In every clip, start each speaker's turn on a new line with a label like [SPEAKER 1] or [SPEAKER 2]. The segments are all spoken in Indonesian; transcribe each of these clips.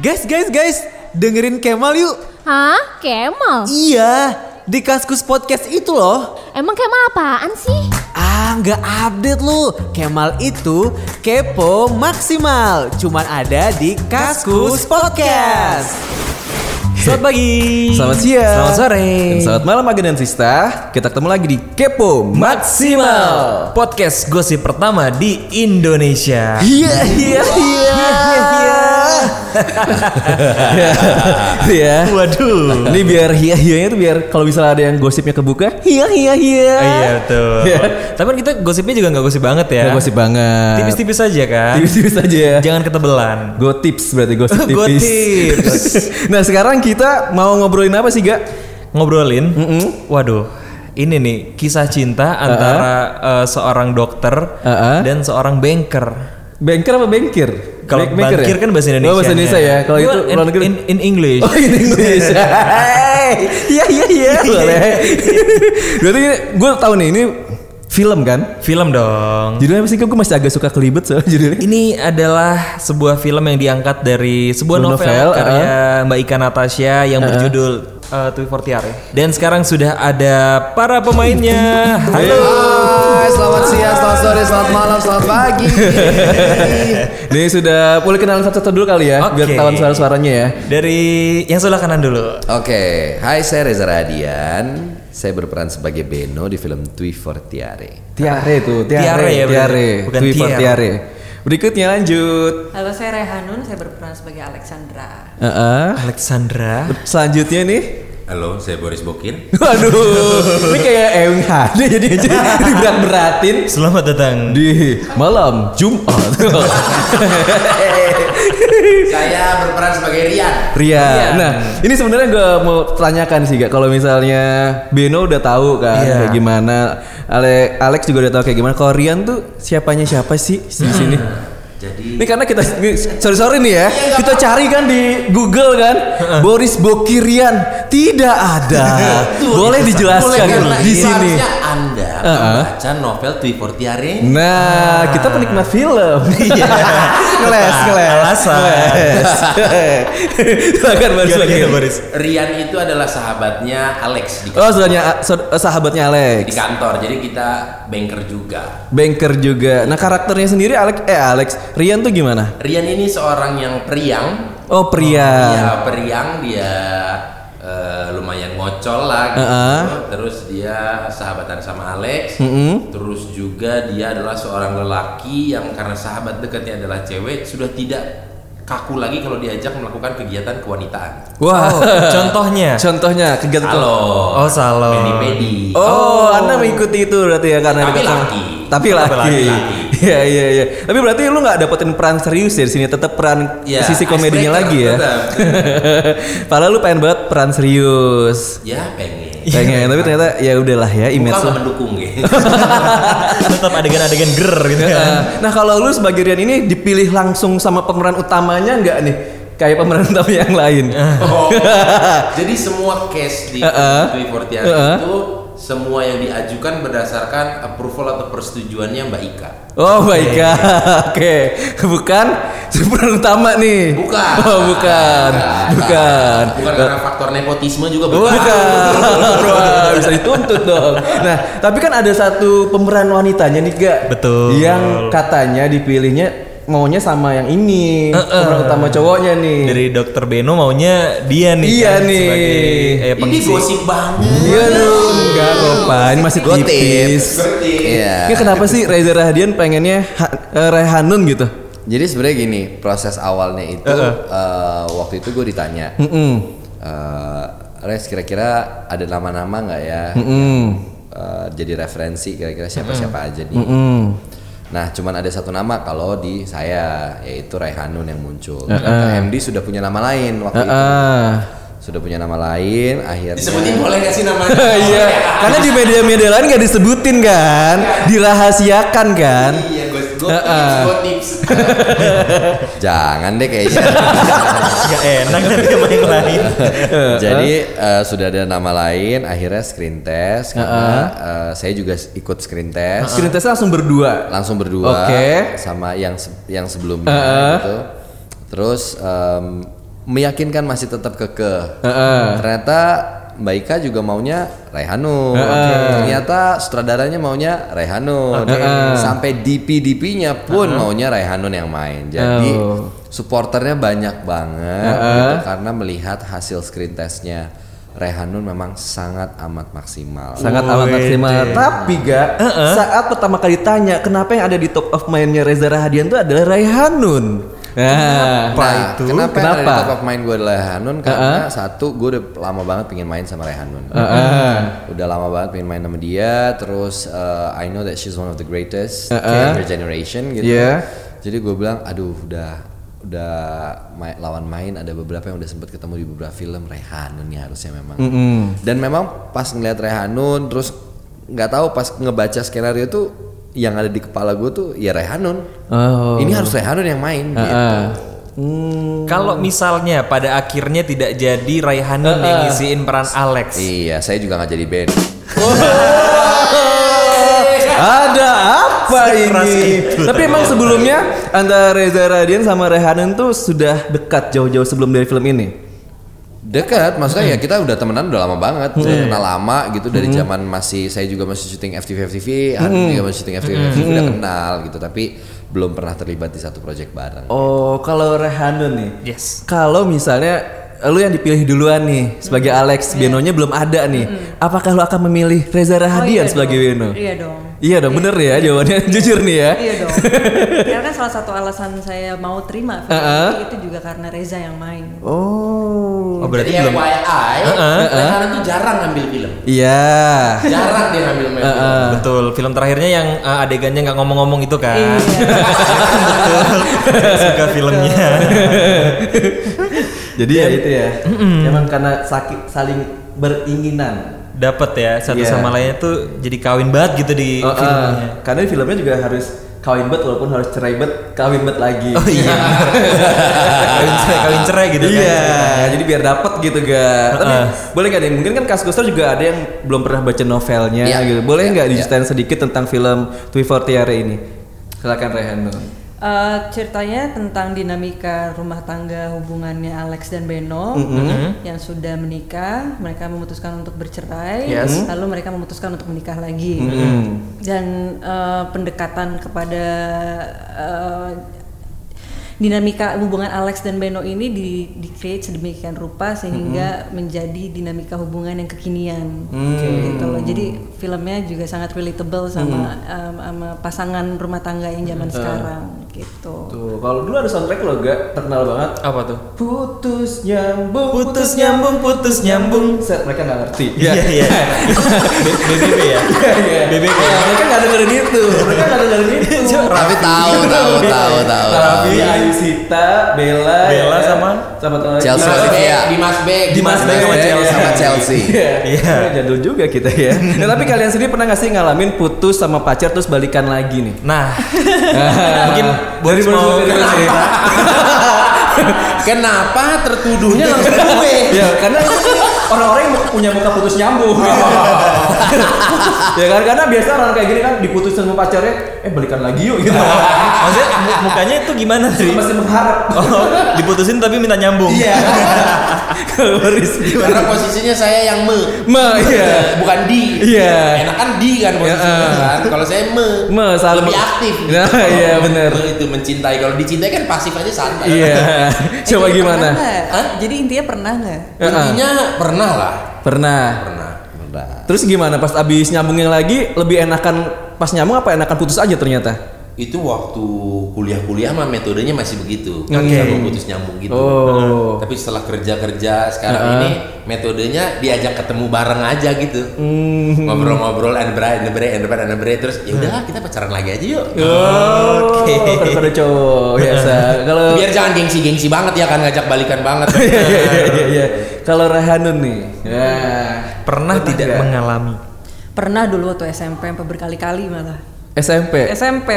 [SPEAKER 1] Guys, guys, guys, dengerin Kemal yuk.
[SPEAKER 2] Hah? Kemal?
[SPEAKER 1] Iya, di Kaskus Podcast itu loh.
[SPEAKER 2] Emang Kemal apaan sih?
[SPEAKER 1] Ah, nggak update lu. Kemal itu kepo maksimal. Cuman ada di Kaskus Podcast. Selamat pagi.
[SPEAKER 3] Selamat siang.
[SPEAKER 1] Selamat sore.
[SPEAKER 3] Dan selamat malam Aga dan Sista. Kita ketemu lagi di Kepo Maksimal.
[SPEAKER 4] Podcast gosip pertama di Indonesia.
[SPEAKER 1] Iya, iya, iya, iya.
[SPEAKER 3] Iya.
[SPEAKER 4] Waduh.
[SPEAKER 3] Ini biar hia-hianya tuh biar kalau misalnya ada yang gosipnya kebuka, hia hia hia.
[SPEAKER 4] Iya betul. Tapi kan kita gosipnya juga nggak gosip banget ya.
[SPEAKER 3] Nggak gosip banget.
[SPEAKER 4] Tipis-tipis aja kan.
[SPEAKER 3] Tipis-tipis aja ya.
[SPEAKER 4] Jangan ketebelan.
[SPEAKER 3] Go tips berarti gosip tipis.
[SPEAKER 4] Go tips.
[SPEAKER 3] nah sekarang kita mau ngobrolin apa sih Ga?
[SPEAKER 4] Ngobrolin. Waduh. Ini nih kisah cinta antara eh, seorang dokter
[SPEAKER 3] Uh-uh.
[SPEAKER 4] dan seorang banker.
[SPEAKER 3] Banker apa bengkir?
[SPEAKER 4] Kalau
[SPEAKER 3] Bank- banker
[SPEAKER 4] banker
[SPEAKER 3] ya?
[SPEAKER 4] kan bahasa Indonesia.
[SPEAKER 3] Oh, bahasa Indonesia ya. Kalau itu
[SPEAKER 4] in,
[SPEAKER 3] luar negeri.
[SPEAKER 4] in, in English.
[SPEAKER 3] Oh, in English. Hey, Iya iya iya. Boleh. Berarti gue tahu nih ini film kan?
[SPEAKER 4] Film dong.
[SPEAKER 3] Judulnya apa sih? Gue masih agak suka kelibet soalnya judulnya.
[SPEAKER 4] Ini adalah sebuah film yang diangkat dari sebuah
[SPEAKER 3] Sebuah
[SPEAKER 4] novel,
[SPEAKER 3] novel, uh-huh.
[SPEAKER 4] karya Mbak Ika Natasha yang berjudul uh, Twi Fortiare. Dan sekarang sudah ada para pemainnya. Halo.
[SPEAKER 3] Iya.
[SPEAKER 5] Hai, selamat siang, selamat sore, selamat malam, selamat pagi.
[SPEAKER 3] Ini sudah boleh kenalan satu-satu dulu kali ya, biar
[SPEAKER 4] Iya. Oke.
[SPEAKER 3] ketahuan suara-suaranya ya.
[SPEAKER 4] Dari yang sebelah kanan dulu.
[SPEAKER 5] Oke, hai saya Reza Radian. Saya berperan sebagai Beno di film Twi Fortiare.
[SPEAKER 3] Tiare tuh, tiare,
[SPEAKER 4] Tiare ya, bener.
[SPEAKER 3] tiare,
[SPEAKER 4] Bukan
[SPEAKER 3] Twi for
[SPEAKER 4] tiar.
[SPEAKER 3] tiare. Berikutnya lanjut.
[SPEAKER 6] Halo, saya Rehanun, saya berperan sebagai Alexandra.
[SPEAKER 3] Heeh.
[SPEAKER 4] Alexandra.
[SPEAKER 3] Selanjutnya nih
[SPEAKER 7] Halo, saya Boris Bokin.
[SPEAKER 3] Waduh, ini kayak Ewing HD jadi jadi diberat-beratin.
[SPEAKER 4] Selamat datang.
[SPEAKER 3] di malam Jumat.
[SPEAKER 5] Saya berperan sebagai Rian.
[SPEAKER 3] Ria. Nah, ini sebenarnya gue mau tanyakan sih, Kak. Kalau misalnya Beno udah tahu kan
[SPEAKER 4] Iya.
[SPEAKER 3] kayak gimana, Ale Alex juga udah tahu kayak gimana. Kalau Rian tuh siapanya siapa sih di sini?
[SPEAKER 7] Jadi
[SPEAKER 3] Ini karena kita sorry sorry nih ya, kita cari kan di Google kan, Boris Bokirian tidak ada. Boleh dijelaskan
[SPEAKER 5] kan?
[SPEAKER 3] di sini.
[SPEAKER 7] Seharusnya Anda
[SPEAKER 5] Ah,
[SPEAKER 3] Uh-uh.
[SPEAKER 7] membaca novel Twi Fortiare.
[SPEAKER 3] Nah, kita penikmat film. ngeles, ngeles.
[SPEAKER 4] Ah, Alasan.
[SPEAKER 3] Ngeles. Silakan Boris.
[SPEAKER 4] Gimana,
[SPEAKER 3] silakan.
[SPEAKER 4] gimana, Boris?
[SPEAKER 7] Rian itu adalah sahabatnya Alex di,
[SPEAKER 3] Oh, saudaranya saud- sahabatnya
[SPEAKER 7] di
[SPEAKER 3] Alex.
[SPEAKER 7] kantor. Jadi kita banker juga.
[SPEAKER 3] Banker juga. Nah, karakternya sendiri Alex eh Alex, Rian tuh gimana?
[SPEAKER 7] Rian ini seorang yang periang.
[SPEAKER 3] Oh, pria.
[SPEAKER 7] Dia Iya, periang, dia eh, lumayan ngocol lah gitu.
[SPEAKER 3] Uh-uh.
[SPEAKER 7] Terus dia sahabatan sama Alex. Terus juga dia adalah seorang lelaki yang karena sahabat dekatnya adalah cewek sudah tidak kaku lagi kalau diajak melakukan kegiatan kewanitaan.
[SPEAKER 3] Wah.
[SPEAKER 4] Oh, Contohnya.
[SPEAKER 3] Contohnya kegiatan
[SPEAKER 7] Halo.
[SPEAKER 4] Oh, salon.
[SPEAKER 7] Pedi-pedi.
[SPEAKER 3] Oh, Anda mengikuti itu berarti ya karena
[SPEAKER 7] Tapi
[SPEAKER 3] dekat sama-
[SPEAKER 7] laki.
[SPEAKER 3] Tapi laki. Iya, iya, iya. Tapi berarti lu nggak dapetin peran serius ya di sini, tetap peran
[SPEAKER 7] Ya,
[SPEAKER 3] sisi komedinya
[SPEAKER 7] icebreaker
[SPEAKER 3] lagi ya.
[SPEAKER 7] tetap.
[SPEAKER 3] Padahal lu pengen banget peran serius.
[SPEAKER 7] Ya pengen.
[SPEAKER 5] Iya.
[SPEAKER 3] Pengen, tapi ternyata ya udahlah ya image
[SPEAKER 7] Muka
[SPEAKER 3] lu.
[SPEAKER 7] nggak mendukung gitu.
[SPEAKER 4] Tetap adegan-adegan ger gitu kan.
[SPEAKER 3] Eh, nah kalau lu sebagai Rian ini dipilih langsung sama pemeran utamanya nggak nih? Kayak pemeran utama yang lain.
[SPEAKER 5] Eh.
[SPEAKER 7] Oh. Jadi semua case di Twi Fortiari
[SPEAKER 3] Heeh.
[SPEAKER 7] itu semua yang diajukan berdasarkan approval atau persetujuannya Mbak Ika.
[SPEAKER 3] Oh my god, oke, bukan si pemeran utama nih.
[SPEAKER 7] Bukan.
[SPEAKER 3] Oh bukan, bukan,
[SPEAKER 7] Bukan karena faktor nepotisme juga
[SPEAKER 3] bukan. Wah, bisa dituntut dong. Nah, tapi kan ada satu pemeran wanitanya nih gak?
[SPEAKER 4] Betul.
[SPEAKER 3] Yang katanya dipilihnya maunya sama yang ini pemeran utama cowoknya nih.
[SPEAKER 4] Dari Dokter Beno maunya dia nih.
[SPEAKER 3] Uh-huh. Iya
[SPEAKER 4] kan,
[SPEAKER 3] nih.
[SPEAKER 4] Sebagai eh,
[SPEAKER 7] Ini
[SPEAKER 4] pengisi.
[SPEAKER 7] gosip banget.
[SPEAKER 3] Iya dong, enggak Gopa, ini masih
[SPEAKER 5] Gotip.
[SPEAKER 3] tipis.
[SPEAKER 5] Iya.
[SPEAKER 3] Ini kenapa sih Reza Rahadian pengennya Ha- eh, Rehanun gitu?
[SPEAKER 5] Jadi sebenarnya gini, proses awalnya itu eh, waktu itu gue ditanya,
[SPEAKER 3] Mm-mm.
[SPEAKER 5] eh, Res kira-kira ada nama-nama nggak ya?
[SPEAKER 3] Mm.
[SPEAKER 5] Eh, jadi referensi kira-kira siapa-siapa aja nih.
[SPEAKER 3] Mm.
[SPEAKER 5] Nah, cuman ada satu nama kalau di saya yaitu Raihanun yang muncul. Ternyata MD sudah punya nama lain waktu itu.
[SPEAKER 3] Ah.
[SPEAKER 5] Sudah punya nama lain, akhirnya
[SPEAKER 7] Disebutin boleh gak sih namanya?
[SPEAKER 3] Iya, karena di media-media lain nggak disebutin kan, dirahasiakan kan.
[SPEAKER 7] Iya, gue gue
[SPEAKER 3] Heeh.
[SPEAKER 7] gue tips.
[SPEAKER 5] jangan deh kayaknya.
[SPEAKER 4] Nggak enak nanti sama yang lain.
[SPEAKER 5] Jadi eh, sudah ada nama lain, akhirnya screen test karena eh, saya juga s- ikut screen test
[SPEAKER 3] Screen testnya langsung berdua.
[SPEAKER 5] langsung berdua
[SPEAKER 3] Oke.
[SPEAKER 5] sama yang se- yang sebelumnya gitu. Terus em, meyakinkan masih tetap kekeh. Ternyata Mbak Ika juga maunya Rehanun. Ternyata sutradaranya maunya Rehanun. Sampai DP-DP-nya pun maunya Rehanun yang main. Jadi
[SPEAKER 3] Oh.
[SPEAKER 5] supporternya banyak banget gitu, karena melihat hasil screen testnya Rehanun memang sangat amat maksimal.
[SPEAKER 3] Sangat amat maksimal.
[SPEAKER 5] iya.
[SPEAKER 3] Tapi gak saat pertama kali tanya kenapa yang ada di top of mind-nya Reza Rahadian itu adalah Raihanun. Nah,
[SPEAKER 5] Nah, Kenapa, yang ada
[SPEAKER 3] Kenapa? Ah.
[SPEAKER 5] di top of mind gue adalah Rehanun? Karena satu, gue udah lama banget pengen main sama Rehanun. Udah lama banget pengen main sama dia. Terus uh, I know that she's one of the greatest in her generation gitu.
[SPEAKER 3] Yeah.
[SPEAKER 5] Jadi gue bilang, aduh udah udah ma- lawan main ada beberapa yang udah sempet ketemu di beberapa film Rehanun nih harusnya memang. Dan memang pas ngeliat Rehanun, terus nggak tahu pas ngebaca skenario tuh yang ada di kepala gue tuh ya Rehanun.
[SPEAKER 3] Ah.
[SPEAKER 5] Ini harus Rehanun yang main gitu.
[SPEAKER 4] Kalau misalnya pada akhirnya tidak jadi Raihanun yang ngisiin peran Alex.
[SPEAKER 5] Iya, saya juga nggak jadi band.
[SPEAKER 3] ada apa
[SPEAKER 4] Sekeras
[SPEAKER 3] ini? Tapi emang sebelumnya antara Reza Rahadian sama Raihanun tuh sudah dekat jauh-jauh sebelum dari film ini.
[SPEAKER 5] Dekat, maksudnya ya kita udah temenan udah lama banget, udah
[SPEAKER 4] Hmm.
[SPEAKER 5] kenal lama gitu dari zaman masih saya juga masih syuting FTV FTV,
[SPEAKER 4] Hmm.
[SPEAKER 5] Hanum juga masih syuting FTV FTV udah kenal gitu, tapi belum pernah terlibat di satu project bareng.
[SPEAKER 3] Oh, kalau Rehanun nih.
[SPEAKER 4] Yes.
[SPEAKER 3] Kalau misalnya lu yang dipilih duluan nih sebagai Alex, Benonya belum ada nih. Apakah lu akan memilih Reza Rahadian
[SPEAKER 6] iya
[SPEAKER 3] sebagai
[SPEAKER 6] dong.
[SPEAKER 3] Beno?
[SPEAKER 6] Iya dong.
[SPEAKER 3] Oh, Iya dong, bener ya jawabannya jujur nih ya.
[SPEAKER 6] Iya dong. karena kan salah satu alasan saya mau terima film ini itu juga karena Reza yang main.
[SPEAKER 3] Oh.
[SPEAKER 4] Oh
[SPEAKER 5] Iya,
[SPEAKER 4] berarti
[SPEAKER 7] Jadi
[SPEAKER 4] belum.
[SPEAKER 7] FYI, Rehanun tuh jarang ngambil film.
[SPEAKER 3] Iya.
[SPEAKER 7] Jarang dia ngambil main film.
[SPEAKER 4] Betul. Film terakhirnya yang eh, adegannya nggak ngomong-ngomong itu kan.
[SPEAKER 6] Iya.
[SPEAKER 4] Saya suka filmnya.
[SPEAKER 3] Jadi ya itu ya. Emang karena sakit saling beringinan.
[SPEAKER 4] Dapat ya satu
[SPEAKER 3] Iya.
[SPEAKER 4] sama lainnya tuh jadi kawin banget gitu di
[SPEAKER 3] Eh, eh,
[SPEAKER 4] filmnya.
[SPEAKER 3] Karena di filmnya juga harus kawin bet walaupun harus cerai bet, kawin bet lagi.
[SPEAKER 4] Oh iya. kawin cerai, kawin cerai gitu kan. Ah,
[SPEAKER 3] iya, jadi biar dapat gitu gak. Tapi boleh gak nih? Mungkin kan Kas Guster juga ada yang belum pernah baca novelnya
[SPEAKER 5] Iya.
[SPEAKER 3] gitu. Boleh
[SPEAKER 5] Iya,
[SPEAKER 3] nggak
[SPEAKER 5] iya.
[SPEAKER 3] diceritain sedikit tentang film Twi Fortiare ini? Silakan Rehanun.
[SPEAKER 6] Eh, ceritanya tentang dinamika rumah tangga hubungannya Alex dan Beno yang sudah menikah, mereka memutuskan untuk bercerai,
[SPEAKER 4] Yes.
[SPEAKER 6] lalu mereka memutuskan untuk menikah lagi. Dan eh, pendekatan kepada eh, dinamika hubungan Alex dan Beno ini di di create sedemikian rupa sehingga menjadi dinamika hubungan yang kekinian.
[SPEAKER 3] Mm.
[SPEAKER 6] Gitu loh. Jadi filmnya juga sangat relatable sama
[SPEAKER 3] Mm.
[SPEAKER 6] um, sama pasangan rumah tangga yang zaman sekarang gitu.
[SPEAKER 3] Tuh, kalau dulu ada soundtrack lo gak terkenal banget.
[SPEAKER 4] Apa tuh?
[SPEAKER 3] Putus nyambung,
[SPEAKER 4] Putus nyambung, putus nyambung.
[SPEAKER 3] Set, mereka nggak ngerti.
[SPEAKER 4] Iya iya. B- BBB ya. BBB.
[SPEAKER 3] Iya, mereka nggak dengerin itu. Mereka nggak dengerin itu.
[SPEAKER 5] Tapi tahu, tahu, tahu, tahu. tahu.
[SPEAKER 3] Raffi, Ayu Sita, Bella,
[SPEAKER 4] Bella
[SPEAKER 3] ya.
[SPEAKER 4] sama?
[SPEAKER 3] sama satu lagi. Nah,
[SPEAKER 5] Chelsea
[SPEAKER 7] Dimas
[SPEAKER 5] Olivia,
[SPEAKER 7] Beck, Dimas Beck,
[SPEAKER 4] Dimas Beck sama Chelsea.
[SPEAKER 5] sama Chelsea.
[SPEAKER 3] ya. Iya.
[SPEAKER 4] Iya.
[SPEAKER 3] Iya. Jadul juga kita ya. Nah, tapi kalian sendiri pernah nggak sih ngalamin putus sama pacar terus balikan lagi nih?
[SPEAKER 4] Nah, mungkin
[SPEAKER 3] Dari
[SPEAKER 4] Boris
[SPEAKER 3] Boris
[SPEAKER 4] mau
[SPEAKER 3] dulu cerita.
[SPEAKER 5] Kenapa tertuduhnya langsung gue?
[SPEAKER 3] Ya, karena orang-orang yang punya muka putus nyambung. ya kan karena biasa orang kayak gini kan diputusin sama pacarnya, eh balikan lagi yuk gitu.
[SPEAKER 4] maksudnya mu- mukanya itu gimana sih?
[SPEAKER 3] Masih mengharap.
[SPEAKER 4] Oh, diputusin tapi minta nyambung.
[SPEAKER 3] Iya. Kalau Boris gimana?
[SPEAKER 7] Karena posisinya saya yang me,
[SPEAKER 3] Ma, iya.
[SPEAKER 7] bukan di.
[SPEAKER 3] Iya.
[SPEAKER 7] Enak kan di kan posisinya
[SPEAKER 3] Iya.
[SPEAKER 7] kan. Kalau saya me,
[SPEAKER 3] Me, selalu
[SPEAKER 7] lebih
[SPEAKER 3] me-
[SPEAKER 7] aktif.
[SPEAKER 3] Nah, iya,
[SPEAKER 7] Kalau
[SPEAKER 3] bener.
[SPEAKER 7] me itu mencintai. Kalau dicintai kan pasif aja santai.
[SPEAKER 3] Iya.
[SPEAKER 6] Eh,
[SPEAKER 3] Coba
[SPEAKER 6] jadi
[SPEAKER 3] gimana?
[SPEAKER 6] pernah nggak? Jadi intinya pernah nggak?
[SPEAKER 3] eh,
[SPEAKER 7] Intinya pernah lah.
[SPEAKER 3] Pernah.
[SPEAKER 7] Pernah.
[SPEAKER 3] Terus gimana pas abis nyambung yang lagi lebih enakan pas nyambung apa enakan putus aja ternyata?
[SPEAKER 7] Itu waktu kuliah-kuliah mah metodenya masih begitu.
[SPEAKER 3] Oke.
[SPEAKER 7] Kan bisa putus nyambung gitu.
[SPEAKER 3] Oh. Eh,
[SPEAKER 7] Tapi setelah kerja-kerja sekarang ini metodenya diajak ketemu bareng aja gitu.
[SPEAKER 3] Hmm.
[SPEAKER 7] Ngobrol-ngobrol and bray and bray and bray and bray terus ya udahlah kita pacaran lagi aja yuk.
[SPEAKER 3] Oh, Oke. Pada cowok biasa. Kalau
[SPEAKER 7] Biar jangan gengsi-gengsi banget ya kan ngajak balikan banget.
[SPEAKER 3] Eh, Iya, iya, iya, iya, iya. Kalau Rehanun nih. Ya.
[SPEAKER 4] Pernah tidak mengalami.
[SPEAKER 6] Pernah dulu waktu SMP sampai berkali-kali malah.
[SPEAKER 3] SMP.
[SPEAKER 6] SMP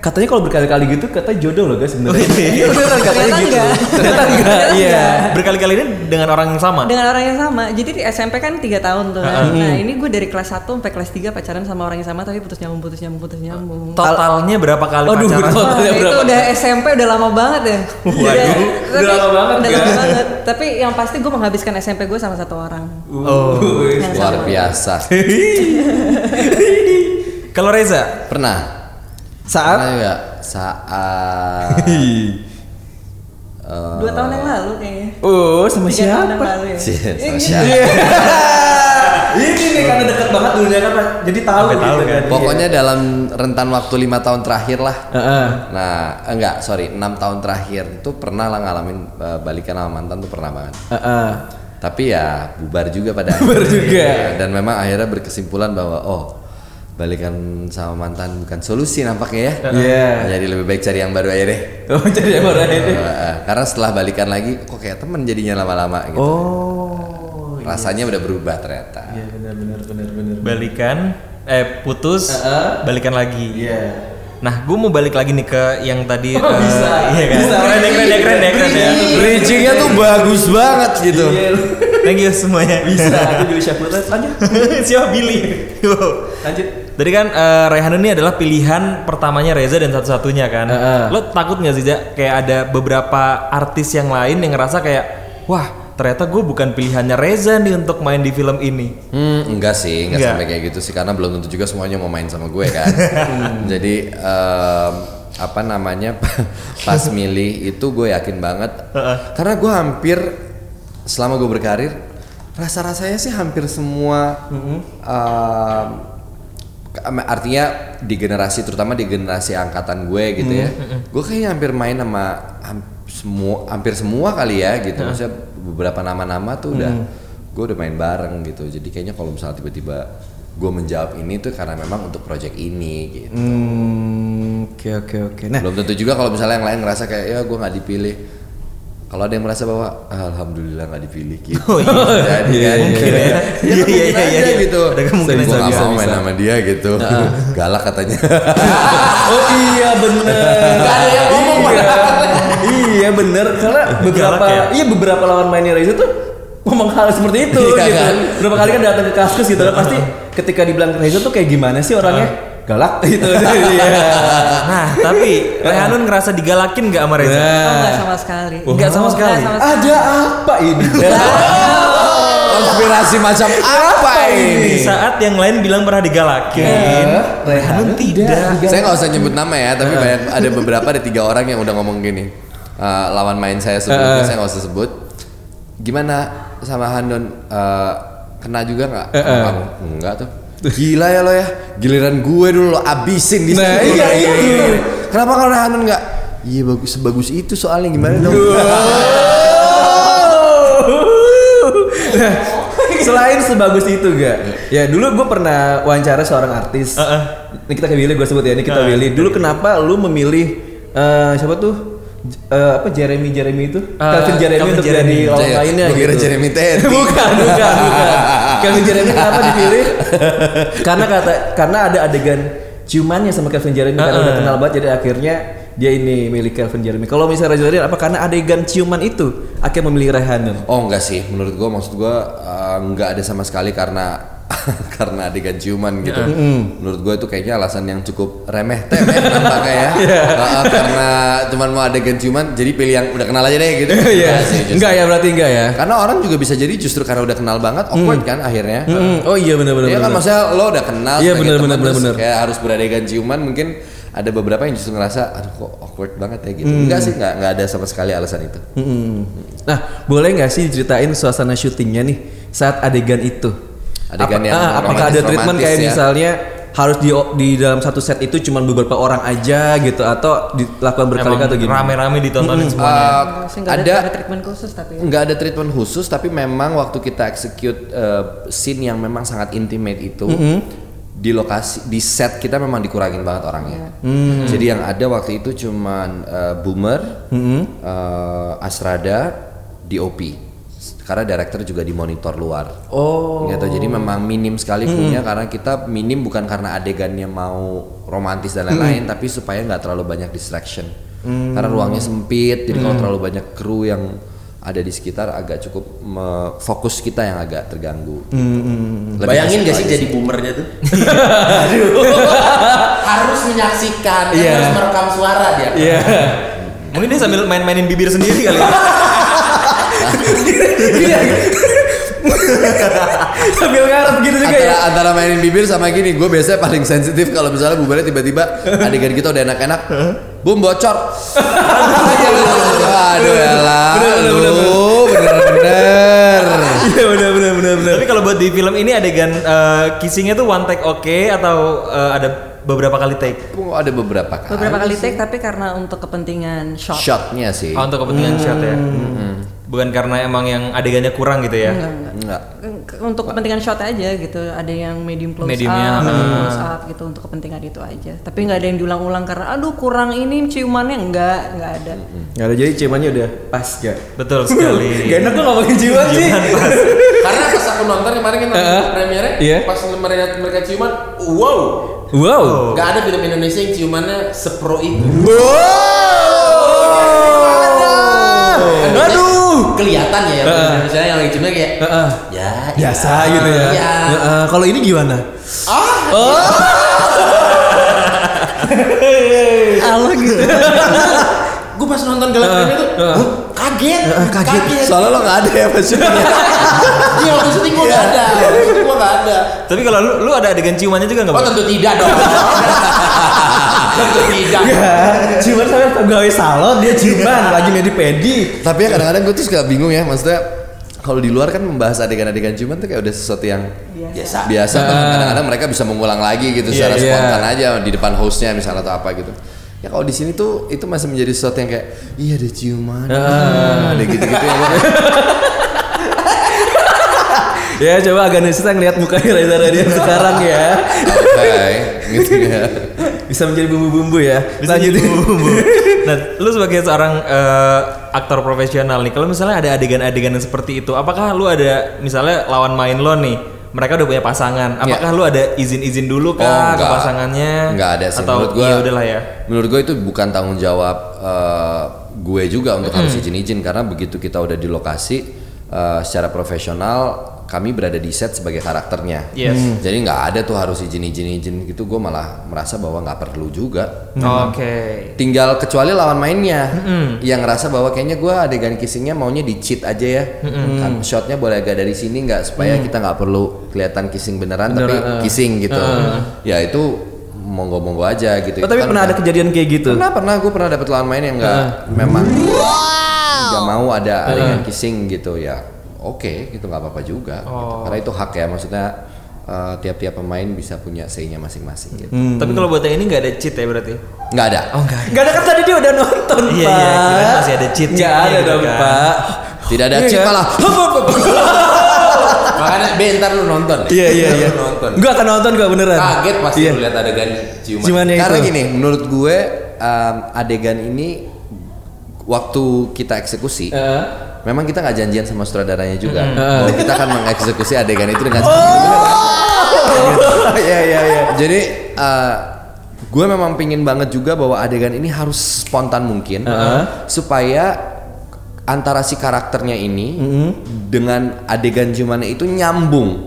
[SPEAKER 3] Katanya kalau berkali-kali gitu kata jodoh loh guys sebenarnya. Iya beneran katanya
[SPEAKER 6] Ternyata
[SPEAKER 3] gitu.
[SPEAKER 6] enggak.
[SPEAKER 3] Ternyata enggak. Iya.
[SPEAKER 4] Berkali-kali ini dengan orang yang sama.
[SPEAKER 6] dengan orang yang sama. Jadi di SMP kan tiga tahun tuh. kan. Nah, ini gue dari kelas 1 sampai kelas 3 pacaran sama orang yang sama tapi putus nyambung putus nyambung putus nyambung.
[SPEAKER 4] Totalnya berapa kali
[SPEAKER 3] Aduh,
[SPEAKER 4] pacaran?
[SPEAKER 3] betul.
[SPEAKER 6] Wah,
[SPEAKER 3] Totalnya
[SPEAKER 6] itu
[SPEAKER 3] berapa?
[SPEAKER 6] udah SMP udah lama banget ya.
[SPEAKER 4] Oh, Waduh,
[SPEAKER 6] Tapi-
[SPEAKER 3] udah lama banget
[SPEAKER 6] Udah
[SPEAKER 3] ya.
[SPEAKER 6] lama banget. Tapi yang pasti gue menghabiskan SMP gue sama satu orang.
[SPEAKER 3] Uh.
[SPEAKER 6] Yang
[SPEAKER 5] Luar
[SPEAKER 6] sama.
[SPEAKER 5] biasa.
[SPEAKER 4] Kalau Reza,
[SPEAKER 5] Pernah?
[SPEAKER 3] Saat
[SPEAKER 5] Pernah juga saat
[SPEAKER 6] Dua tahun yang lalu kayaknya.
[SPEAKER 3] Oh, sama
[SPEAKER 6] Tiga tahun yang
[SPEAKER 3] siapa?
[SPEAKER 6] lalu ya.
[SPEAKER 5] Cie, sama Iya,
[SPEAKER 3] Iya.
[SPEAKER 5] siapa?
[SPEAKER 3] Ini nih karena deket banget dulunya kan Pak. jadi tahu gitu kan.
[SPEAKER 5] Pokoknya dalam rentan waktu lima tahun terakhir lah.
[SPEAKER 3] Heeh.
[SPEAKER 5] Nah, enggak, sorry, enam tahun terakhir itu pernah lah ngalamin eh, balikan sama mantan tuh pernah banget.
[SPEAKER 3] Heeh.
[SPEAKER 5] Tapi ya bubar juga pada
[SPEAKER 3] Bubar juga.
[SPEAKER 5] Iya, Dan memang akhirnya berkesimpulan bahwa oh, balikan sama mantan bukan solusi nampaknya ya.
[SPEAKER 3] Iya.
[SPEAKER 5] Jadi lebih baik cari yang baru aja deh.
[SPEAKER 3] Oh, jadi yang baru ini.
[SPEAKER 5] Eh, Karena setelah balikan lagi kok kayak temen jadinya lama-lama gitu.
[SPEAKER 3] Oh.
[SPEAKER 5] Rasanya udah berubah ternyata.
[SPEAKER 3] Iya benar benar benar benar.
[SPEAKER 4] balikan eh putus,
[SPEAKER 3] Heeh.
[SPEAKER 4] balikan lagi.
[SPEAKER 3] Iya.
[SPEAKER 4] Nah, gue mau balik lagi nih ke yang
[SPEAKER 3] Oh,
[SPEAKER 4] tadi. eh,
[SPEAKER 3] bisa.
[SPEAKER 4] Iya kan?
[SPEAKER 3] Bisa.
[SPEAKER 4] Keren, ya, keren, ya, keren, ya, keren, ya.
[SPEAKER 5] Bridgingnya tuh bagus banget gitu.
[SPEAKER 3] Iya, lu-
[SPEAKER 4] Thank you semuanya.
[SPEAKER 3] Bisa aku beli syakulat lanjut.
[SPEAKER 4] Siapa Billy? Wow.
[SPEAKER 3] Lanjut.
[SPEAKER 4] Tadi kan eh, Raihan ini adalah pilihan pertamanya Reza dan satu-satunya kan.
[SPEAKER 3] Heeh.
[SPEAKER 4] Lo takut nggak sih, Ja? Kayak ada beberapa artis yang lain yang ngerasa kayak, wah ternyata gue bukan pilihannya Reza nih untuk main di film ini.
[SPEAKER 5] Hmm, enggak sih, enggak,
[SPEAKER 4] Enggak.
[SPEAKER 5] sampai kayak gitu sih karena belum tentu juga semuanya mau main sama gue kan. Jadi em, apa namanya pas milih itu gue yakin banget karena gue hampir selama gue berkarir rasa-rasanya sih hampir semua em, ke- em, artinya di generasi terutama di generasi angkatan gue gitu ya
[SPEAKER 4] Hmm,
[SPEAKER 5] gue kayaknya hampir main sama ham- semua hampir semua kali ya gitu
[SPEAKER 4] Hmm.
[SPEAKER 5] maksudnya beberapa nama-nama tuh udah gue udah main bareng gitu jadi kayaknya kalau misalnya tiba-tiba gue menjawab ini tuh karena memang untuk project ini gitu
[SPEAKER 3] Hmm, oke oke oke. Nah,
[SPEAKER 5] belum tentu juga kalau misalnya yang lain ngerasa kayak ya gue nggak dipilih kalau ada yang merasa bahwa alhamdulillah nggak dipilih gitu
[SPEAKER 4] Oh,
[SPEAKER 5] jadi kan mungkin ya
[SPEAKER 4] Iya, iya,
[SPEAKER 5] mungkin
[SPEAKER 4] iya,
[SPEAKER 5] aja
[SPEAKER 4] iya.
[SPEAKER 5] gitu
[SPEAKER 4] Ada kemungkinan
[SPEAKER 5] gue
[SPEAKER 4] bisa,
[SPEAKER 5] nggak
[SPEAKER 4] bisa,
[SPEAKER 5] mau main
[SPEAKER 4] bisa. Nah.
[SPEAKER 5] sama dia gitu galak katanya
[SPEAKER 3] oh iya bener. Iya. Iya bener karena beberapa
[SPEAKER 4] Galak
[SPEAKER 3] iya beberapa lawan mainnya Reza tuh ngomong hal seperti itu
[SPEAKER 5] Iya,
[SPEAKER 3] gitu.
[SPEAKER 5] kan?
[SPEAKER 3] Berapa kali kan datang ke kaskus gitu loh pasti ketika dibilang Reza tuh kayak gimana sih orangnya? Galak gitu. Iya.
[SPEAKER 4] Nah, tapi Rehanun ngerasa digalakin nggak sama Reza?
[SPEAKER 3] Nah.
[SPEAKER 6] Oh, enggak sama sekali.
[SPEAKER 4] Nggak sama sekali?
[SPEAKER 6] Nggak sama
[SPEAKER 3] Ada apa ini?
[SPEAKER 5] konspirasi macam apa
[SPEAKER 4] Di
[SPEAKER 5] ini
[SPEAKER 4] saat yang lain bilang pernah digalakin.
[SPEAKER 3] Rehan tidak.
[SPEAKER 5] saya nggak usah nyebut nama ya
[SPEAKER 3] Eh.
[SPEAKER 5] tapi banyak ada beberapa ada tiga orang yang udah ngomong gini "Eh, lawan main saya sebelumnya
[SPEAKER 3] Eh.
[SPEAKER 5] saya nggak usah sebut gimana sama Handon eh, kena juga nggak
[SPEAKER 3] Eh,
[SPEAKER 5] sama
[SPEAKER 3] eh.
[SPEAKER 5] kamu enggak tuh gila ya lo ya giliran gue dulu lo abisin di
[SPEAKER 3] Nah, iya, iya, iya.
[SPEAKER 5] kenapa kalau Handon nggak iya bagus sebagus itu soalnya gimana dong
[SPEAKER 3] Iya, Nah, Selain sebagus itu gak? Ya dulu gue pernah wawancara seorang artis. Ini kita Willy gue sebut ya, ini kita Willy. Dulu kenapa lu memilih eh, siapa tuh? J- eh, apa Jeremy Jeremy itu? Calvin Jeremy
[SPEAKER 4] Calvin
[SPEAKER 3] untuk
[SPEAKER 4] Jeremy.
[SPEAKER 3] jadi lawan mainnya
[SPEAKER 5] Gue Iya, kira
[SPEAKER 3] gitu.
[SPEAKER 5] Jeremy Teti.
[SPEAKER 3] bukan, bukan, bukan. Calvin Jeremy kenapa dipilih? karena kata karena ada adegan ciumannya sama Calvin Jeremy karena udah kenal banget jadi akhirnya dia ini milik Calvin Jeremy. Kalau misalnya Reza Radian, apa karena adegan ciuman itu akhirnya memilih Rehanan?
[SPEAKER 5] Oh enggak sih, menurut gua maksud gua eh, enggak ada sama sekali karena karena adegan ciuman gitu.
[SPEAKER 3] Hmm.
[SPEAKER 5] Menurut gua itu kayaknya alasan yang cukup remeh temeh nampaknya ya.
[SPEAKER 3] Iya.
[SPEAKER 5] Eh, karena cuman mau adegan ciuman jadi pilih yang udah kenal aja deh gitu.
[SPEAKER 3] Iya.
[SPEAKER 5] Enggak sih, justru.
[SPEAKER 3] Enggak ya berarti enggak ya?
[SPEAKER 5] Karena orang juga bisa jadi justru karena udah kenal banget
[SPEAKER 3] Hmm.
[SPEAKER 5] awkward kan akhirnya.
[SPEAKER 3] Mm, oh iya benar-benar.
[SPEAKER 5] Iya kan
[SPEAKER 3] benar.
[SPEAKER 5] maksudnya lo udah kenal
[SPEAKER 3] Iya,
[SPEAKER 5] sebagai
[SPEAKER 3] bener,
[SPEAKER 5] teman,
[SPEAKER 3] bener,
[SPEAKER 5] terus
[SPEAKER 3] bener, bener.
[SPEAKER 5] kayak harus beradegan ciuman mungkin ada beberapa yang justru ngerasa aduh kok awkward banget ya gitu.
[SPEAKER 3] Hmm.
[SPEAKER 5] Enggak sih, enggak enggak ada sama sekali alasan itu.
[SPEAKER 3] Mm. Nah, boleh nggak sih diceritain suasana syutingnya nih saat adegan itu?
[SPEAKER 5] Adegan yang
[SPEAKER 3] ah, apakah ada
[SPEAKER 5] romantis-romantis
[SPEAKER 3] treatment kayak
[SPEAKER 5] ya?
[SPEAKER 3] misalnya harus di di dalam satu set itu cuma beberapa orang aja gitu atau dilakukan berkali-kali atau gimana?
[SPEAKER 4] rame-rame ditontonin semuanya.
[SPEAKER 5] Eh,
[SPEAKER 6] sekali. Nggak ada, nggak ada treatment khusus tapi. ya.
[SPEAKER 5] nggak ada treatment khusus tapi memang waktu kita execute uh, scene yang memang sangat intimate itu di lokasi di set kita memang dikurangin banget orangnya jadi yang ada waktu itu eh, cuman uh, boomer uh, asrada dop karena director juga dimonitor luar. Oh. Gitu. Jadi memang minim sekali punya karena kita minim bukan karena adegannya mau romantis dan lain-lain tapi supaya nggak terlalu banyak distraction. Karena ruangnya sempit jadi kalau terlalu banyak kru yang ada di sekitar agak cukup me- fokus kita yang agak terganggu. gitu. Lebih
[SPEAKER 7] Bayangin
[SPEAKER 5] ke
[SPEAKER 7] gak
[SPEAKER 5] situ
[SPEAKER 7] sih
[SPEAKER 5] aja
[SPEAKER 7] jadi boomernya tuh? harus menyaksikan, dia
[SPEAKER 3] Iya.
[SPEAKER 7] harus merekam suara dia.
[SPEAKER 3] Iya.
[SPEAKER 4] Mungkin dia sambil main-mainin bibir sendiri kali ya.
[SPEAKER 3] Iya. Sambil ngarep gitu
[SPEAKER 4] Iya
[SPEAKER 3] juga ya.
[SPEAKER 5] antara, antara mainin bibir sama gini gue biasanya paling sensitif kalau misalnya bubarnya tiba-tiba adegan kita udah enak-enak bum bocor aduh ya elah lu bener-bener
[SPEAKER 3] Iya benar benar benar benar.
[SPEAKER 4] Tapi kalau buat di film ini adegan eh, kissingnya tuh one take oke atau eh, ada beberapa kali take?
[SPEAKER 5] Oh, ada beberapa kali
[SPEAKER 6] Beberapa kali take tapi karena untuk kepentingan shot.
[SPEAKER 5] shotnya sih
[SPEAKER 4] Oh, untuk kepentingan
[SPEAKER 3] Hmm.
[SPEAKER 4] shot ya. Bukan karena emang yang adegannya kurang gitu ya.
[SPEAKER 6] Enggak, enggak.
[SPEAKER 5] enggak
[SPEAKER 6] Ke- Untuk kepentingan shot aja gitu. Ada yang medium close
[SPEAKER 4] Mediumnya,
[SPEAKER 6] up,
[SPEAKER 4] ah.
[SPEAKER 6] medium close up gitu untuk kepentingan itu aja. Tapi nggak ada yang diulang-ulang karena aduh kurang ini ciumannya enggak, enggak ada.
[SPEAKER 3] Nggak ada jadi ciumannya udah pas gak?
[SPEAKER 4] Betul sekali.
[SPEAKER 3] Gak enak tuh ngomongin jiwa sih.
[SPEAKER 7] Karena pas aku nonton kemarin kan nonton premiere,
[SPEAKER 3] Iya.
[SPEAKER 7] pas mereka mereka ciuman, wow,
[SPEAKER 3] Wow.
[SPEAKER 7] gak ada film Indonesia yang ciumannya sepro itu.
[SPEAKER 3] Wow. Aduh.
[SPEAKER 7] Kelihatan ya, yang misalnya yang lagi ciuman kayak,
[SPEAKER 3] Heeh.
[SPEAKER 7] ya,
[SPEAKER 3] Biasa gitu ya.
[SPEAKER 7] Iya.
[SPEAKER 3] Heeh, Kalau ini gimana?
[SPEAKER 7] Gue pas nonton gelap premiere tuh, huh, kaget, kaget,
[SPEAKER 5] soalnya lo nggak ada ya maksudnya
[SPEAKER 7] Iya, waktu syuting gue gak ada, waktu syuting gue gak ada.
[SPEAKER 4] Tapi kalau lu, lu ada adegan ciumannya juga nggak?
[SPEAKER 7] Oh
[SPEAKER 4] Bang?
[SPEAKER 7] tentu tidak dong. tentu tidak.
[SPEAKER 3] Iya. Ciuman sama pegawai salon dia ciuman lagi medi pedi.
[SPEAKER 5] tapi ya kadang-kadang gue tuh suka bingung ya maksudnya kalau di luar kan membahas adegan-adegan ciuman tuh kayak udah sesuatu yang
[SPEAKER 7] Biasa.
[SPEAKER 5] biasa bahkan kadang-kadang mereka bisa mengulang lagi gitu secara
[SPEAKER 3] Ah. iya.
[SPEAKER 5] spontan aja di depan hostnya misalnya atau apa gitu ya kalau di sini tuh itu masih menjadi sesuatu yang kayak iya ada ciuman ah, ada gitu-gitu ya
[SPEAKER 3] Ya coba agak kita ngeliat mukanya Reza Radian sekarang ya.
[SPEAKER 5] Oke, gitu ya
[SPEAKER 3] Bisa menjadi bumbu-bumbu ya.
[SPEAKER 4] Bisa jadi bumbu. Nah, lu sebagai seorang eh, aktor profesional nih, kalau misalnya ada adegan-adegan yang seperti itu, apakah lu ada misalnya lawan main lo nih, mereka udah punya pasangan, apakah lu ada izin-izin dulu
[SPEAKER 5] Oh,
[SPEAKER 4] kah ke
[SPEAKER 5] enggak.
[SPEAKER 4] pasangannya?
[SPEAKER 5] Enggak ada sih.
[SPEAKER 4] Iya. Atau
[SPEAKER 5] Menurut gua-
[SPEAKER 4] ya udahlah ya.
[SPEAKER 5] menurut gue itu bukan tanggung jawab eh, gue juga untuk harus
[SPEAKER 4] Hmm.
[SPEAKER 5] izin-izin karena begitu kita udah di lokasi eh, secara profesional kami berada di set sebagai karakternya Hmm.
[SPEAKER 4] Yes.
[SPEAKER 5] jadi nggak ada tuh harus izin-izin-izin gitu gue malah merasa bahwa nggak perlu juga
[SPEAKER 4] Oke.
[SPEAKER 5] tinggal kecuali lawan mainnya yang ngerasa bahwa kayaknya gue adegan kissingnya maunya di cheat aja ya kan shotnya boleh agak dari sini nggak supaya
[SPEAKER 3] Mm.
[SPEAKER 5] kita nggak perlu kelihatan kissing beneran, tapi
[SPEAKER 3] uh-uh.
[SPEAKER 5] kissing gitu ya itu monggo monggo aja
[SPEAKER 3] Oh,
[SPEAKER 5] gitu
[SPEAKER 3] Uh-uh. tapi pernah ada Uh-uh. kejadian kayak gitu.
[SPEAKER 5] pernah pernah gue pernah dapet lawan main yang nggak memang nggak mau
[SPEAKER 3] Uh-uh.
[SPEAKER 5] ada adegan kissing gitu ya oke gitu nggak apa-apa juga gitu.
[SPEAKER 3] Oh.
[SPEAKER 5] karena itu hak ya maksudnya eh, tiap-tiap pemain bisa punya say-nya masing-masing gitu
[SPEAKER 3] Hmm.
[SPEAKER 4] Tapi kalau buat yang ini nggak ada cheat ya berarti?
[SPEAKER 5] nggak ada
[SPEAKER 4] Oh enggak.
[SPEAKER 3] Gak ada kan tadi dia udah nonton
[SPEAKER 4] Iya,
[SPEAKER 3] pak.
[SPEAKER 4] iya, kirain masih ada cheat-
[SPEAKER 3] Gak
[SPEAKER 4] cheatnya
[SPEAKER 3] ada
[SPEAKER 4] gitu
[SPEAKER 3] dong
[SPEAKER 4] kan.
[SPEAKER 3] pak.
[SPEAKER 5] tidak ada
[SPEAKER 3] Iya,
[SPEAKER 5] cheat
[SPEAKER 3] kan?
[SPEAKER 5] malah
[SPEAKER 7] Makanya bentar lu nonton.
[SPEAKER 3] Iya iya iya.
[SPEAKER 7] Lu nonton.
[SPEAKER 3] Gue akan nonton gak beneran.
[SPEAKER 4] Ah.
[SPEAKER 7] Kaget pasti
[SPEAKER 3] Iya.
[SPEAKER 7] lu lihat adegan ciuman.
[SPEAKER 3] Cuman yang
[SPEAKER 5] Karena
[SPEAKER 3] itu.
[SPEAKER 5] gini, menurut gue um, adegan ini waktu kita eksekusi,
[SPEAKER 7] Eh.
[SPEAKER 3] Heeh.
[SPEAKER 5] memang kita nggak janjian sama sutradaranya juga. Bahwa kita akan mengeksekusi adegan itu dengan sepenuh
[SPEAKER 3] Iya iya iya.
[SPEAKER 5] Jadi uh, gue memang pingin banget juga bahwa adegan ini harus spontan mungkin supaya antara si karakternya ini dengan adegan ciumannya itu nyambung.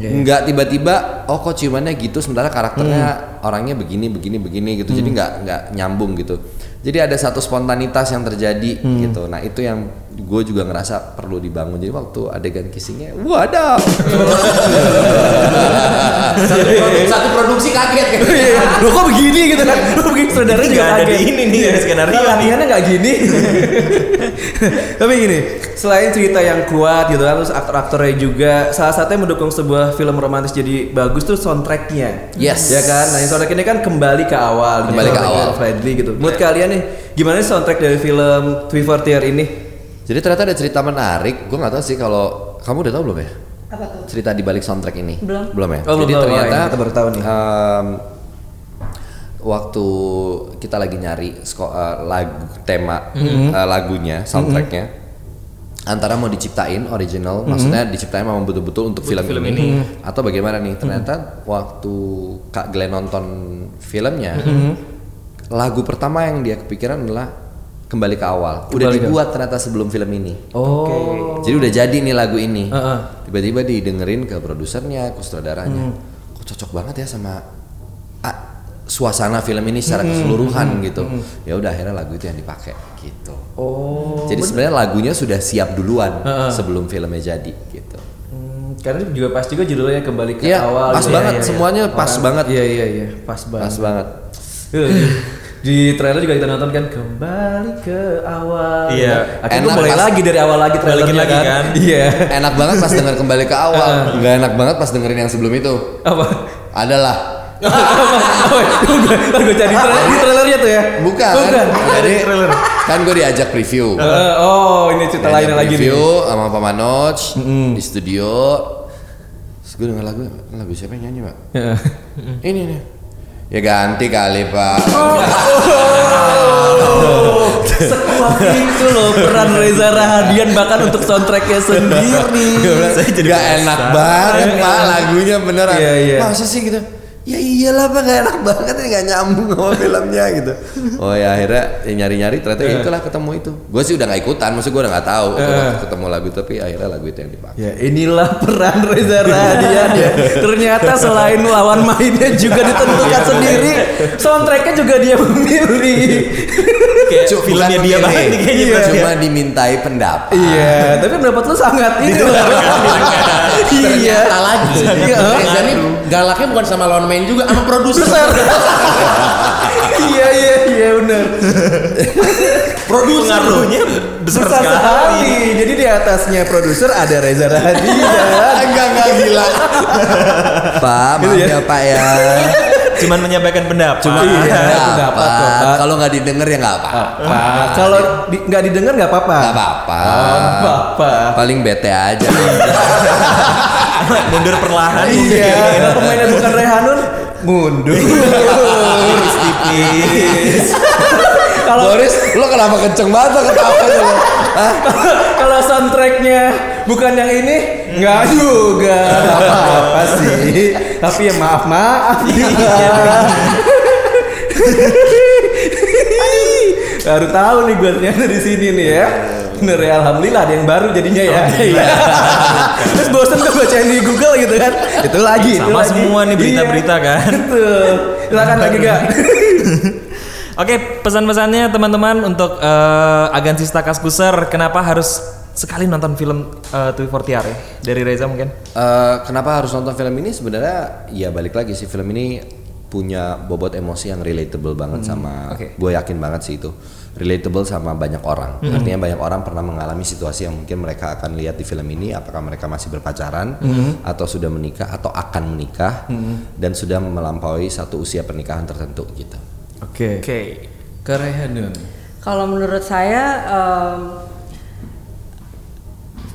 [SPEAKER 3] Iya,
[SPEAKER 5] Nggak tiba-tiba oh kok ciumannya gitu sementara karakternya
[SPEAKER 3] Hmm.
[SPEAKER 5] orangnya begini begini begini gitu. Jadi nggak nggak nyambung gitu. Jadi ada satu spontanitas yang terjadi
[SPEAKER 3] Hmm.
[SPEAKER 5] gitu. Nah, itu yang gue juga ngerasa perlu dibangun. Jadi waktu adegan kissingnya, wadah.
[SPEAKER 7] Satu, produk- satu produksi kaget kan.
[SPEAKER 3] Lo kok begini gitu kan? Lo begini saudara
[SPEAKER 4] Ini
[SPEAKER 3] juga
[SPEAKER 4] nggak ada
[SPEAKER 3] kaget.
[SPEAKER 4] di ini nih, nggak ada skenario
[SPEAKER 3] Lo
[SPEAKER 4] nih.
[SPEAKER 3] Latihannya nggak gini. Tapi gini, selain cerita yang kuat gitu kan, terus aktor-aktornya juga salah satunya mendukung sebuah film romantis jadi bagus tuh soundtracknya.
[SPEAKER 5] Yes.
[SPEAKER 3] Ya kan? Nah, soundtrack ini kan kembali ke awal,
[SPEAKER 5] Kembali ke awal.
[SPEAKER 3] friendly gitu. Menurut kalian nih, gimana sih soundtrack dari film Twiver Tear ini?
[SPEAKER 5] Jadi ternyata ada cerita menarik. Gue nggak tahu sih kalau kamu udah tahu belum ya?
[SPEAKER 6] Apa tuh?
[SPEAKER 5] Cerita di balik soundtrack ini.
[SPEAKER 6] Belum.
[SPEAKER 5] Belum ya.
[SPEAKER 3] Oh, belum
[SPEAKER 5] Jadi
[SPEAKER 3] tahu.
[SPEAKER 5] ternyata
[SPEAKER 3] Wah, ini kita baru tahu nih.
[SPEAKER 5] em, waktu Mm-hmm. kita lagi nyari sko- eh, lagu tema eh, lagunya soundtracknya. antara mau diciptain original, maksudnya diciptain memang betul-betul Mm-hmm. untuk film,
[SPEAKER 4] film
[SPEAKER 5] ini, Mm-hmm. atau bagaimana nih? Ternyata waktu Kak Glenn nonton filmnya, lagu pertama yang dia kepikiran adalah kembali ke awal. Udah dibuat ternyata sebelum film ini.
[SPEAKER 3] Oke.
[SPEAKER 5] Jadi udah jadi nih lagu ini. Tiba-tiba didengerin ke produsernya, ke sutradaranya.
[SPEAKER 3] Hmm.
[SPEAKER 5] Kok cocok banget ya sama ah, suasana film ini secara
[SPEAKER 3] Hmm.
[SPEAKER 5] keseluruhan gitu. Ya udah akhirnya lagu itu yang dipakai gitu.
[SPEAKER 3] Oh.
[SPEAKER 5] jadi sebenarnya lagunya sudah siap duluan sebelum filmnya jadi gitu.
[SPEAKER 3] Hmm, karena juga pas juga judulnya kembali ke
[SPEAKER 5] Iya,
[SPEAKER 3] awal.
[SPEAKER 5] pas
[SPEAKER 3] Iya,
[SPEAKER 5] banget,
[SPEAKER 3] iya, iya.
[SPEAKER 5] semuanya pas
[SPEAKER 3] Orang-
[SPEAKER 5] banget.
[SPEAKER 3] Iya iya iya, pas banget.
[SPEAKER 5] Pas banget.
[SPEAKER 3] Tuh, Iya. di trailer juga kita nonton kan kembali ke awal.
[SPEAKER 4] Iya.
[SPEAKER 3] Akhirnya gua
[SPEAKER 5] Enak
[SPEAKER 3] mulai
[SPEAKER 5] pas-
[SPEAKER 3] lagi dari awal lagi trailernya
[SPEAKER 4] Balikin lagi kan?
[SPEAKER 3] Iya.
[SPEAKER 5] enak banget pas denger kembali ke awal. Nggak enak banget pas dengerin yang sebelum itu.
[SPEAKER 3] Apa?
[SPEAKER 5] Adalah
[SPEAKER 3] Udah gue cari trailer, di trailernya tuh ya.
[SPEAKER 5] bukan.
[SPEAKER 3] Bukan.
[SPEAKER 5] Jadi kan gue diajak review.
[SPEAKER 3] Eh, oh, ini cerita lain
[SPEAKER 5] Diajak
[SPEAKER 3] lagi nih.
[SPEAKER 5] review sama Pak Manoj di studio. Terus gue denger lagu, lagu siapa yang nyanyi pak?
[SPEAKER 3] Ya. Mm.
[SPEAKER 5] Ini nih. Ya ganti kali pak.
[SPEAKER 3] Oh, Sekuat itu loh peran Reza Rahadian bahkan untuk soundtracknya sendiri.
[SPEAKER 5] Saya jadi gak enak banget pak lagunya beneran.
[SPEAKER 3] Iya, iya.
[SPEAKER 5] Masa sih gitu? Ya iyalah pak gak enak banget ini gak nyambung sama filmnya gitu. Oh ya akhirnya ya nyari-nyari ternyata
[SPEAKER 3] Iya.
[SPEAKER 5] ya itulah ketemu itu. Gue sih udah gak ikutan, maksud gue udah gak tahu itu waktu ketemu lagu tapi akhirnya lagu itu yang dipakai.
[SPEAKER 3] Ya inilah peran Reza Rahadian ya. Ternyata selain lawan mainnya juga ditentukan sendiri, soundtracknya juga dia memilih. Iya,
[SPEAKER 4] Kayak
[SPEAKER 5] Cuk,
[SPEAKER 4] filmnya
[SPEAKER 5] bukan
[SPEAKER 4] dia
[SPEAKER 5] Iya, memilih.
[SPEAKER 4] banget nih kayaknya berarti ya.
[SPEAKER 5] Cuma dimintai pendapat.
[SPEAKER 3] Iya, tapi pendapat lu sangat itu. Iya.
[SPEAKER 1] Ternyata lagi.
[SPEAKER 3] Iya.
[SPEAKER 1] Reza ini galaknya bukan sama lawan main juga sama produser.
[SPEAKER 3] Iya iya iya benar.
[SPEAKER 4] Produser Pengaruhnya besar,
[SPEAKER 3] Besar
[SPEAKER 4] sekali.
[SPEAKER 3] sekali. Jadi di atasnya produser ada Reza Rahadian.
[SPEAKER 5] Enggak enggak gila. Pak, maaf
[SPEAKER 3] Gitu ya.
[SPEAKER 5] ya. Pak ya.
[SPEAKER 4] Cuman menyampaikan pendapat.
[SPEAKER 5] Cuma
[SPEAKER 3] Iya, pendapat,
[SPEAKER 5] pendapat.
[SPEAKER 3] kok, Pak.
[SPEAKER 5] Kalau nggak didengar ya nggak apa.
[SPEAKER 3] Nah, kalau di- nggak didengar nggak apa-apa.
[SPEAKER 5] Nggak apa-apa.
[SPEAKER 3] Oh, apa-apa.
[SPEAKER 5] Paling bete aja.
[SPEAKER 4] Mundur perlahan.
[SPEAKER 3] Iya. Kalau pemainnya bukan Rehanun mundur.
[SPEAKER 4] Tipis-tipis.
[SPEAKER 3] Kalau
[SPEAKER 5] Boris, lo kenapa kenceng banget lo ketawanya lo? Hah?
[SPEAKER 3] kalau soundtracknya bukan yang ini nggak juga apa sih tapi ya maaf maaf Iya. baru tahu nih gue ternyata di sini nih ya bener ya alhamdulillah ada yang baru jadinya ya
[SPEAKER 4] Oh,
[SPEAKER 3] Iya. terus bosen tuh bacain di Google gitu kan itu lagi itu
[SPEAKER 4] Sama
[SPEAKER 3] lagi.
[SPEAKER 4] semua nih
[SPEAKER 3] Iya.
[SPEAKER 4] berita-berita kan.
[SPEAKER 3] betul silakan lagi gak
[SPEAKER 4] Oke, pesan-pesannya teman-teman untuk eh, Agan Sista Kaskuser, kenapa harus sekali nonton film eh, 240R ya? Dari Reza mungkin.
[SPEAKER 5] Eh, kenapa harus nonton film ini sebenarnya ya balik lagi sih film ini punya bobot emosi yang relatable banget sama gue yakin banget sih itu relatable sama banyak orang artinya banyak orang pernah mengalami situasi yang mungkin mereka akan lihat di film ini apakah mereka masih berpacaran atau sudah menikah atau akan menikah dan sudah melampaui satu usia pernikahan tertentu gitu
[SPEAKER 3] oke
[SPEAKER 4] Oke.
[SPEAKER 3] kerehanun
[SPEAKER 6] Kalau menurut saya em,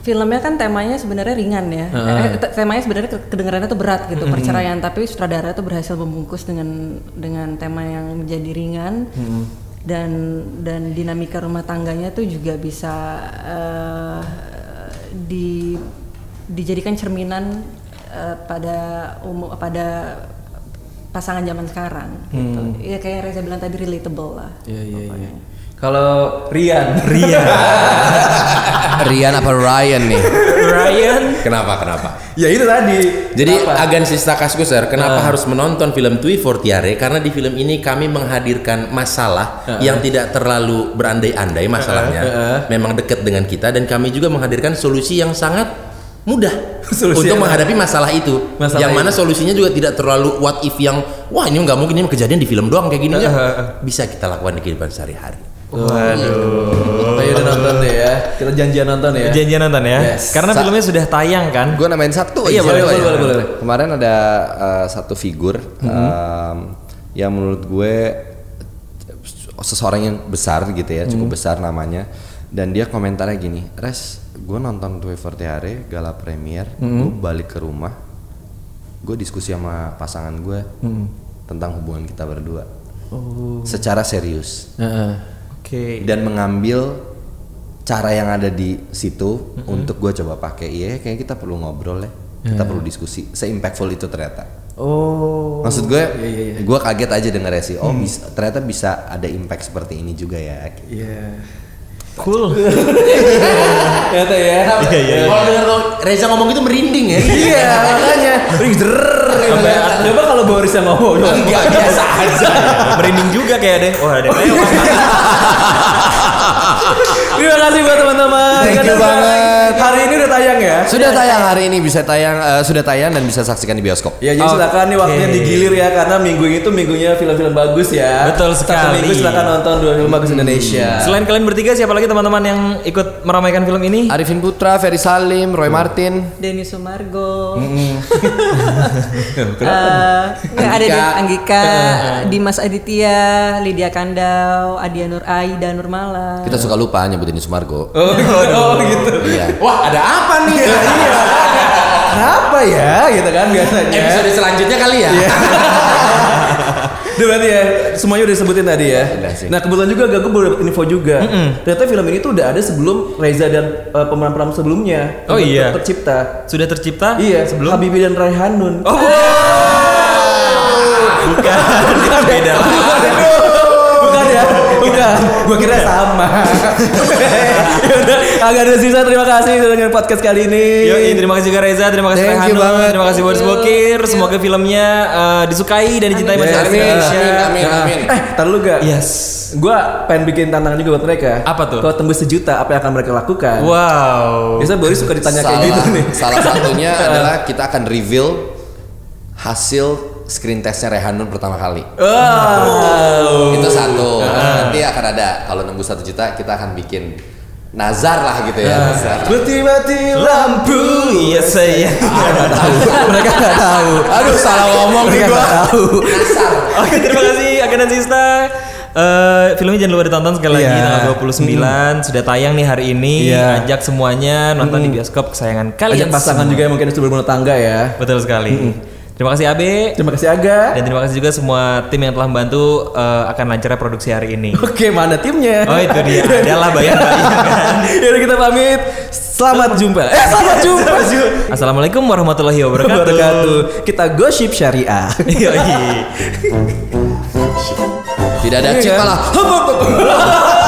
[SPEAKER 6] filmnya kan temanya sebenarnya ringan ya. Eh, te- temanya sebenarnya ke- kedengarannya tuh berat gitu perceraian, tapi sutradara tuh berhasil membungkus dengan dengan tema yang menjadi ringan. Dan dan dinamika rumah tangganya tuh juga bisa eh, di dijadikan cerminan eh, pada umum pada pasangan zaman sekarang gitu. Ya kayak yang Reza bilang tadi relatable lah.
[SPEAKER 3] Iya iya iya. Kalau Rian,
[SPEAKER 5] Rian apa Ryan nih
[SPEAKER 4] Ryan,
[SPEAKER 7] Kenapa? Kenapa?
[SPEAKER 3] ya itu tadi.
[SPEAKER 7] Jadi Agan Sista Kaskuser, kenapa harus menonton film Twi Fortiare? Karena di film ini kami menghadirkan masalah yang tidak terlalu berandai-andai masalahnya. Memang dekat dengan kita dan kami juga menghadirkan solusi yang sangat mudah
[SPEAKER 3] Solusi
[SPEAKER 7] untuk
[SPEAKER 3] yang-
[SPEAKER 7] menghadapi masalah itu.
[SPEAKER 3] Masalah
[SPEAKER 7] yang
[SPEAKER 3] itu.
[SPEAKER 7] mana solusinya juga tidak terlalu what if yang wah ini nggak mungkin ini kejadian di film doang kayak gini
[SPEAKER 3] Uh,
[SPEAKER 7] ya. Bisa kita lakukan di kehidupan sehari-hari.
[SPEAKER 3] Ayo Oh, udah nonton deh ya. Kita janjian nonton ya.
[SPEAKER 4] janjian nonton ya.
[SPEAKER 3] Yes.
[SPEAKER 4] Karena
[SPEAKER 5] Sa-
[SPEAKER 4] filmnya sudah tayang kan.
[SPEAKER 5] Gue namain satu
[SPEAKER 3] Iya,
[SPEAKER 5] aja.
[SPEAKER 3] boleh, boleh, boleh, boleh. Mhm.
[SPEAKER 5] Kemarin ada uh, satu figur um, yang menurut gue seseorang yang besar gitu ya,
[SPEAKER 3] Mhm.
[SPEAKER 5] cukup besar namanya. Dan dia komentarnya gini, Res, gue nonton Twi Fortiare gala premier,
[SPEAKER 3] Mhm.
[SPEAKER 5] gue balik ke rumah, gue diskusi sama pasangan gue
[SPEAKER 3] Mhm.
[SPEAKER 5] tentang hubungan kita berdua,
[SPEAKER 3] Oh.
[SPEAKER 5] secara serius
[SPEAKER 3] Heeh.
[SPEAKER 4] Oke.
[SPEAKER 5] dan mengambil cara yang ada di situ untuk gue coba pakai iya kayaknya kita perlu ngobrol ya kita perlu diskusi se impactful itu ternyata
[SPEAKER 3] Oh.
[SPEAKER 5] maksud gue gue kaget aja dengernya sih oh bisa- ternyata bisa ada impact seperti ini juga ya
[SPEAKER 3] Iya.
[SPEAKER 4] Cool.
[SPEAKER 3] Ternyata ya.
[SPEAKER 4] Iya, iya, iya.
[SPEAKER 1] Kalau denger tuh Reza ngomong gitu merinding ya.
[SPEAKER 3] Iya, makanya. Ring drrrr, gitu kan. Coba kalau Boris yang ngomong.
[SPEAKER 1] Enggak biasa aja.
[SPEAKER 4] Merinding juga kayak deh. Wah,
[SPEAKER 3] Oh,
[SPEAKER 4] ada yang
[SPEAKER 3] iya.
[SPEAKER 4] lewat.
[SPEAKER 3] Terima kasih buat teman-teman.
[SPEAKER 5] Thank
[SPEAKER 3] Karena
[SPEAKER 5] you
[SPEAKER 3] sekarang
[SPEAKER 5] banget.
[SPEAKER 3] Hari ini udah tayang ya.
[SPEAKER 5] sudah tayang hari ini bisa tayang eh, sudah tayang dan bisa saksikan di bioskop
[SPEAKER 3] Ya jadi silakan nih waktunya digilir ya karena minggu ini tuh minggunya film-film bagus ya.
[SPEAKER 4] Betul
[SPEAKER 3] Satu
[SPEAKER 4] sekali. Hmm.
[SPEAKER 3] minggu silakan nonton dua film bagus Indonesia.
[SPEAKER 4] Selain kalian bertiga siapa lagi teman-teman yang ikut meramaikan film ini?
[SPEAKER 5] Arifin Putra Ferry Salim Roy Martin
[SPEAKER 6] Denny Sumargo,
[SPEAKER 3] Kenapa?
[SPEAKER 6] eh, nggak ada
[SPEAKER 5] Anggika.
[SPEAKER 6] Dev- Anggika, Dimas Aditya, Lydia Kandau, Adia Nur Aida Nurmala.
[SPEAKER 5] kita suka lupa nyebutin Sumargo
[SPEAKER 3] Oh, oh, gitu.
[SPEAKER 5] iya
[SPEAKER 1] Wah, ada apa nih?
[SPEAKER 3] Kenapa ya gitu kan biasanya.
[SPEAKER 4] Eh.
[SPEAKER 1] Episode selanjutnya kali ya.
[SPEAKER 5] Iya.
[SPEAKER 3] Duh, berarti ya semuanya udah disebutin tadi ya.
[SPEAKER 5] Udah sih.
[SPEAKER 3] Nah kebetulan juga gak gue baru dapet info juga. Ternyata film ini tuh udah ada sebelum Reza dan eh, pemeran-pemeran sebelumnya.
[SPEAKER 4] Oh,
[SPEAKER 3] Ter-
[SPEAKER 4] iya.
[SPEAKER 3] Tercipta.
[SPEAKER 4] Sudah tercipta?
[SPEAKER 3] Iya. Sebelum Habibie dan Raihanun.
[SPEAKER 4] Oh, bukan. bukan. Beda lah.
[SPEAKER 3] Bukan ya, bukan. Gue kira sama. Yaudah, agak ada sisa. Terima kasih sudah dengan podcast kali ini.
[SPEAKER 4] Yoi, terima kasih juga Reza, terima kasih
[SPEAKER 5] Thank you
[SPEAKER 4] Rehanun,
[SPEAKER 5] banget.
[SPEAKER 4] terima kasih Boris Bokir. Semoga filmnya eh, disukai dan dicintai
[SPEAKER 3] Yes.
[SPEAKER 5] Iya.
[SPEAKER 4] masyarakat
[SPEAKER 3] Amin,
[SPEAKER 4] Indonesia.
[SPEAKER 1] amin, amin.
[SPEAKER 3] Eh, tar dulu gak?
[SPEAKER 4] Yes.
[SPEAKER 3] Gue pengen bikin tantangan juga buat mereka.
[SPEAKER 4] Apa tuh?
[SPEAKER 3] Kalau tembus sejuta, apa yang akan mereka lakukan?
[SPEAKER 4] Wow.
[SPEAKER 3] Biasanya Boris suka ditanya
[SPEAKER 5] salah,
[SPEAKER 3] kayak gitu nih.
[SPEAKER 5] salah satunya adalah kita akan reveal hasil screen testnya Rehanun pertama kali.
[SPEAKER 4] Oh.
[SPEAKER 3] Wow.
[SPEAKER 5] Itu satu. Nanti akan ada kalau nembus satu juta kita akan bikin nazar lah gitu ya. Nazar.
[SPEAKER 3] Berarti-berarti
[SPEAKER 4] Lampu, iya saya.
[SPEAKER 3] mereka nggak tahu.
[SPEAKER 5] Aduh salah ngomong
[SPEAKER 3] mereka
[SPEAKER 5] nih gua.
[SPEAKER 3] nggak tahu.
[SPEAKER 5] Nazar.
[SPEAKER 4] Oke, terima kasih Agen dan Sista. Eh, filmnya jangan lupa ditonton sekali lagi
[SPEAKER 3] Iya. Hmm.
[SPEAKER 4] tanggal 29 sudah tayang nih hari ini.
[SPEAKER 3] Iya. Hmm.
[SPEAKER 4] Ajak semuanya nonton di bioskop kesayangan kalian.
[SPEAKER 3] Ajak pasangan
[SPEAKER 4] semua.
[SPEAKER 3] juga yang mungkin sudah berumah tangga ya.
[SPEAKER 4] Betul sekali. Terima kasih Abe
[SPEAKER 3] Terima kasih Aga.
[SPEAKER 4] dan terima kasih juga semua tim yang telah membantu eh, akan lancarnya produksi hari ini.
[SPEAKER 3] Oke, mana timnya?
[SPEAKER 4] Oh itu dia. Adalah bayang-bayang.
[SPEAKER 3] Yaudah kita pamit. Selamat jumpa. Eh, selamat jumpa.
[SPEAKER 4] Assalamualaikum warahmatullahi wabarakatuh.
[SPEAKER 3] Wabarakatuh. Kita gosip syariah.
[SPEAKER 4] Yoi.
[SPEAKER 5] Tidak ada
[SPEAKER 3] Iya
[SPEAKER 5] chip
[SPEAKER 3] kan?
[SPEAKER 5] lah.